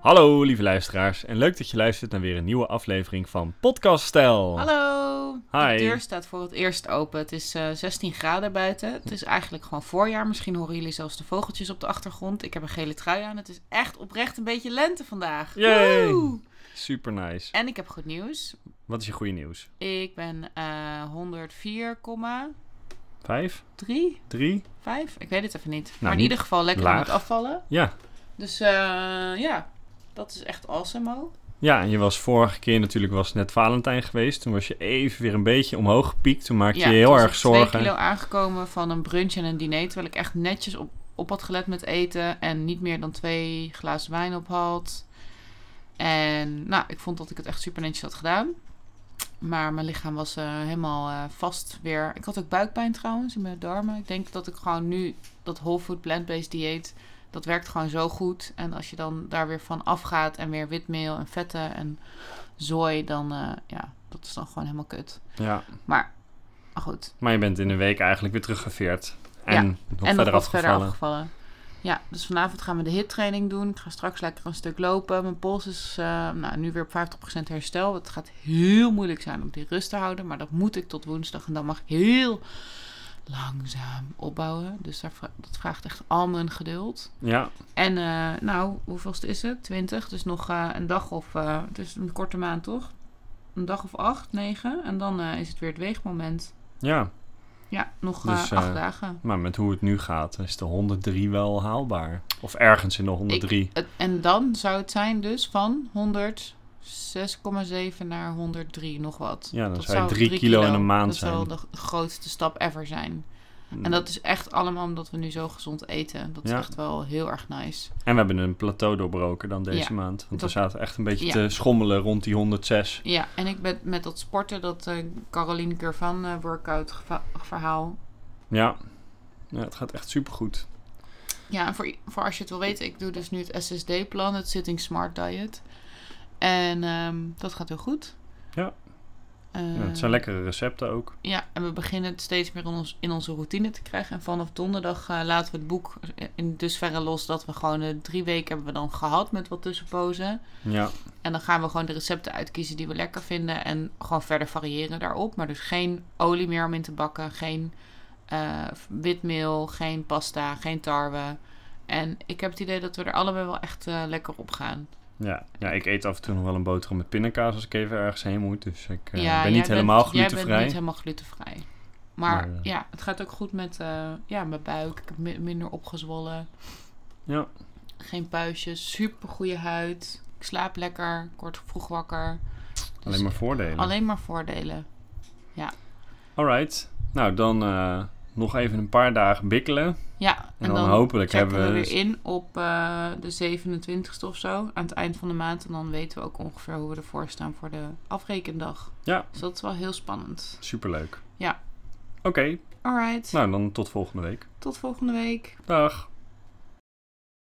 Hallo lieve luisteraars en leuk dat je luistert naar weer een nieuwe aflevering van Podcast Stijl. Hallo! Hi. De deur staat voor het eerst open. Het is eh, 16 graden buiten. Het is eigenlijk gewoon voorjaar. Misschien horen jullie zelfs de vogeltjes op de achtergrond. Ik heb een gele trui aan. Het is echt oprecht een beetje lente vandaag. Yay. Woe! Super nice. En ik heb goed nieuws. Wat is je goede nieuws? Ik ben eh 104,3? Vijf? Drie? 5? Ik weet het even niet. maar Nou, niet in ieder geval lekker laag. aan het afvallen. Ja. Dus eh, ja, dat is echt awesome Mo. Ja, en je was vorige keer natuurlijk was net Valentijn geweest. Toen was je even weer een beetje omhoog gepiekt. Toen maakte je je toen heel was erg ik zorgen. twee kilo aangekomen van een brunch en een diner. Terwijl ik echt netjes op, op had gelet met eten. En niet meer dan twee glazen wijn op had. En nou, ik vond dat ik het echt super netjes had gedaan. Maar mijn lichaam was eh, helemaal eh, vast weer. Ik had ook buikpijn trouwens in mijn darmen. Ik denk dat ik gewoon nu dat whole food plant-based dieet... Dat werkt gewoon zo goed. En als je dan daar weer van afgaat en weer witmeel en vetten en zooi, dan eh, ja, dat is dan gewoon helemaal kut. Ja, Maar goed, maar je bent in een week eigenlijk weer teruggeveerd. En nog en verder nog wat verder afgevallen. afgevallen. Ja, dus vanavond gaan we de hittraining doen. Ik ga straks lekker een stuk lopen. Mijn pols is eh, nou, nu weer op 50% herstel. Het gaat heel moeilijk zijn om die rust te houden. Maar dat moet ik tot woensdag. En dan mag ik heel langzaam opbouwen. Dus daar, vra- dat vraagt echt al mijn geduld. Ja, En eh, nou, hoeveelste is het? 20. Dus nog eh, een dag of... eh, het is een korte maand, toch? Een dag of acht, negen. En dan eh, is het weer het weegmoment. ja, Ja, nog eh, Dus, eh, acht dagen. maar met hoe het nu gaat is de 103 wel haalbaar. Of ergens in de 103. Het- en dan zou het zijn dus van 106,7 naar 103 nog wat. Ja, dan zou je drie kilo in een maand zijn. Mm. Hmm. Dat zou de grootste stap ever zijn. En dat is echt allemaal omdat we nu zo gezond eten. Dat Ja. is echt wel heel erg nice. En we hebben een plateau doorbroken dan deze Ja, maand. Want dat- we zaten echt een beetje ja. te schommelen rond die 106. Ja, en ik ben met dat sporten, dat eh, Caroline Curvan eh, workout geva- verhaal. Ja, ja het gaat echt supergoed. Ja, en voor, i- voor als je het wil weten, ik doe dus nu het SSD-plan, het Sitting Smart Diet. En ehm, dat gaat heel goed. Ja. Ja, Eh, het zijn lekkere recepten ook. Ja, en we beginnen het steeds meer in, ons, in onze routine te krijgen. En vanaf donderdag eh, laten we het boek in dusverre los dat we gewoon eh, drie weken hebben we dan gehad met wat tussenpozen. Ja, En dan gaan we gewoon de recepten uitkiezen die we lekker vinden en gewoon verder variëren daarop. Maar dus geen olie meer om in te bakken, geen eh, witmeel, geen pasta, geen tarwe. En ik heb het idee dat we er allebei wel echt eh, lekker op gaan. ja. ja, ik eet af en toe nog wel een boterham met pindakaas als ik even ergens heen moet. Dus ik eh, jij ben niet bent- helemaal Jij bent glutenvrij. niet helemaal glutenvrij. Maar Maar, eh, ja, het gaat ook goed met eh, ja, mijn buik. Ik heb mi- minder opgezwollen. Ja. Geen puistjes. Super goede huid. Ik slaap lekker. Ik word vroeg wakker. Dus Alleen maar voordelen. alleen maar voordelen. Alright. Nou, dan eh, nog even een paar dagen bikkelen. Ja, en, dan hopelijk checken hebben we- we weer in op eh, de 27ste of zo. Aan het eind van de maand. En dan weten we ook ongeveer hoe we ervoor staan voor de afrekendag. Ja. Dus dat is wel heel spannend. Superleuk. Ja. Oké, Alright. nou dan tot volgende week. Tot volgende week. Dag.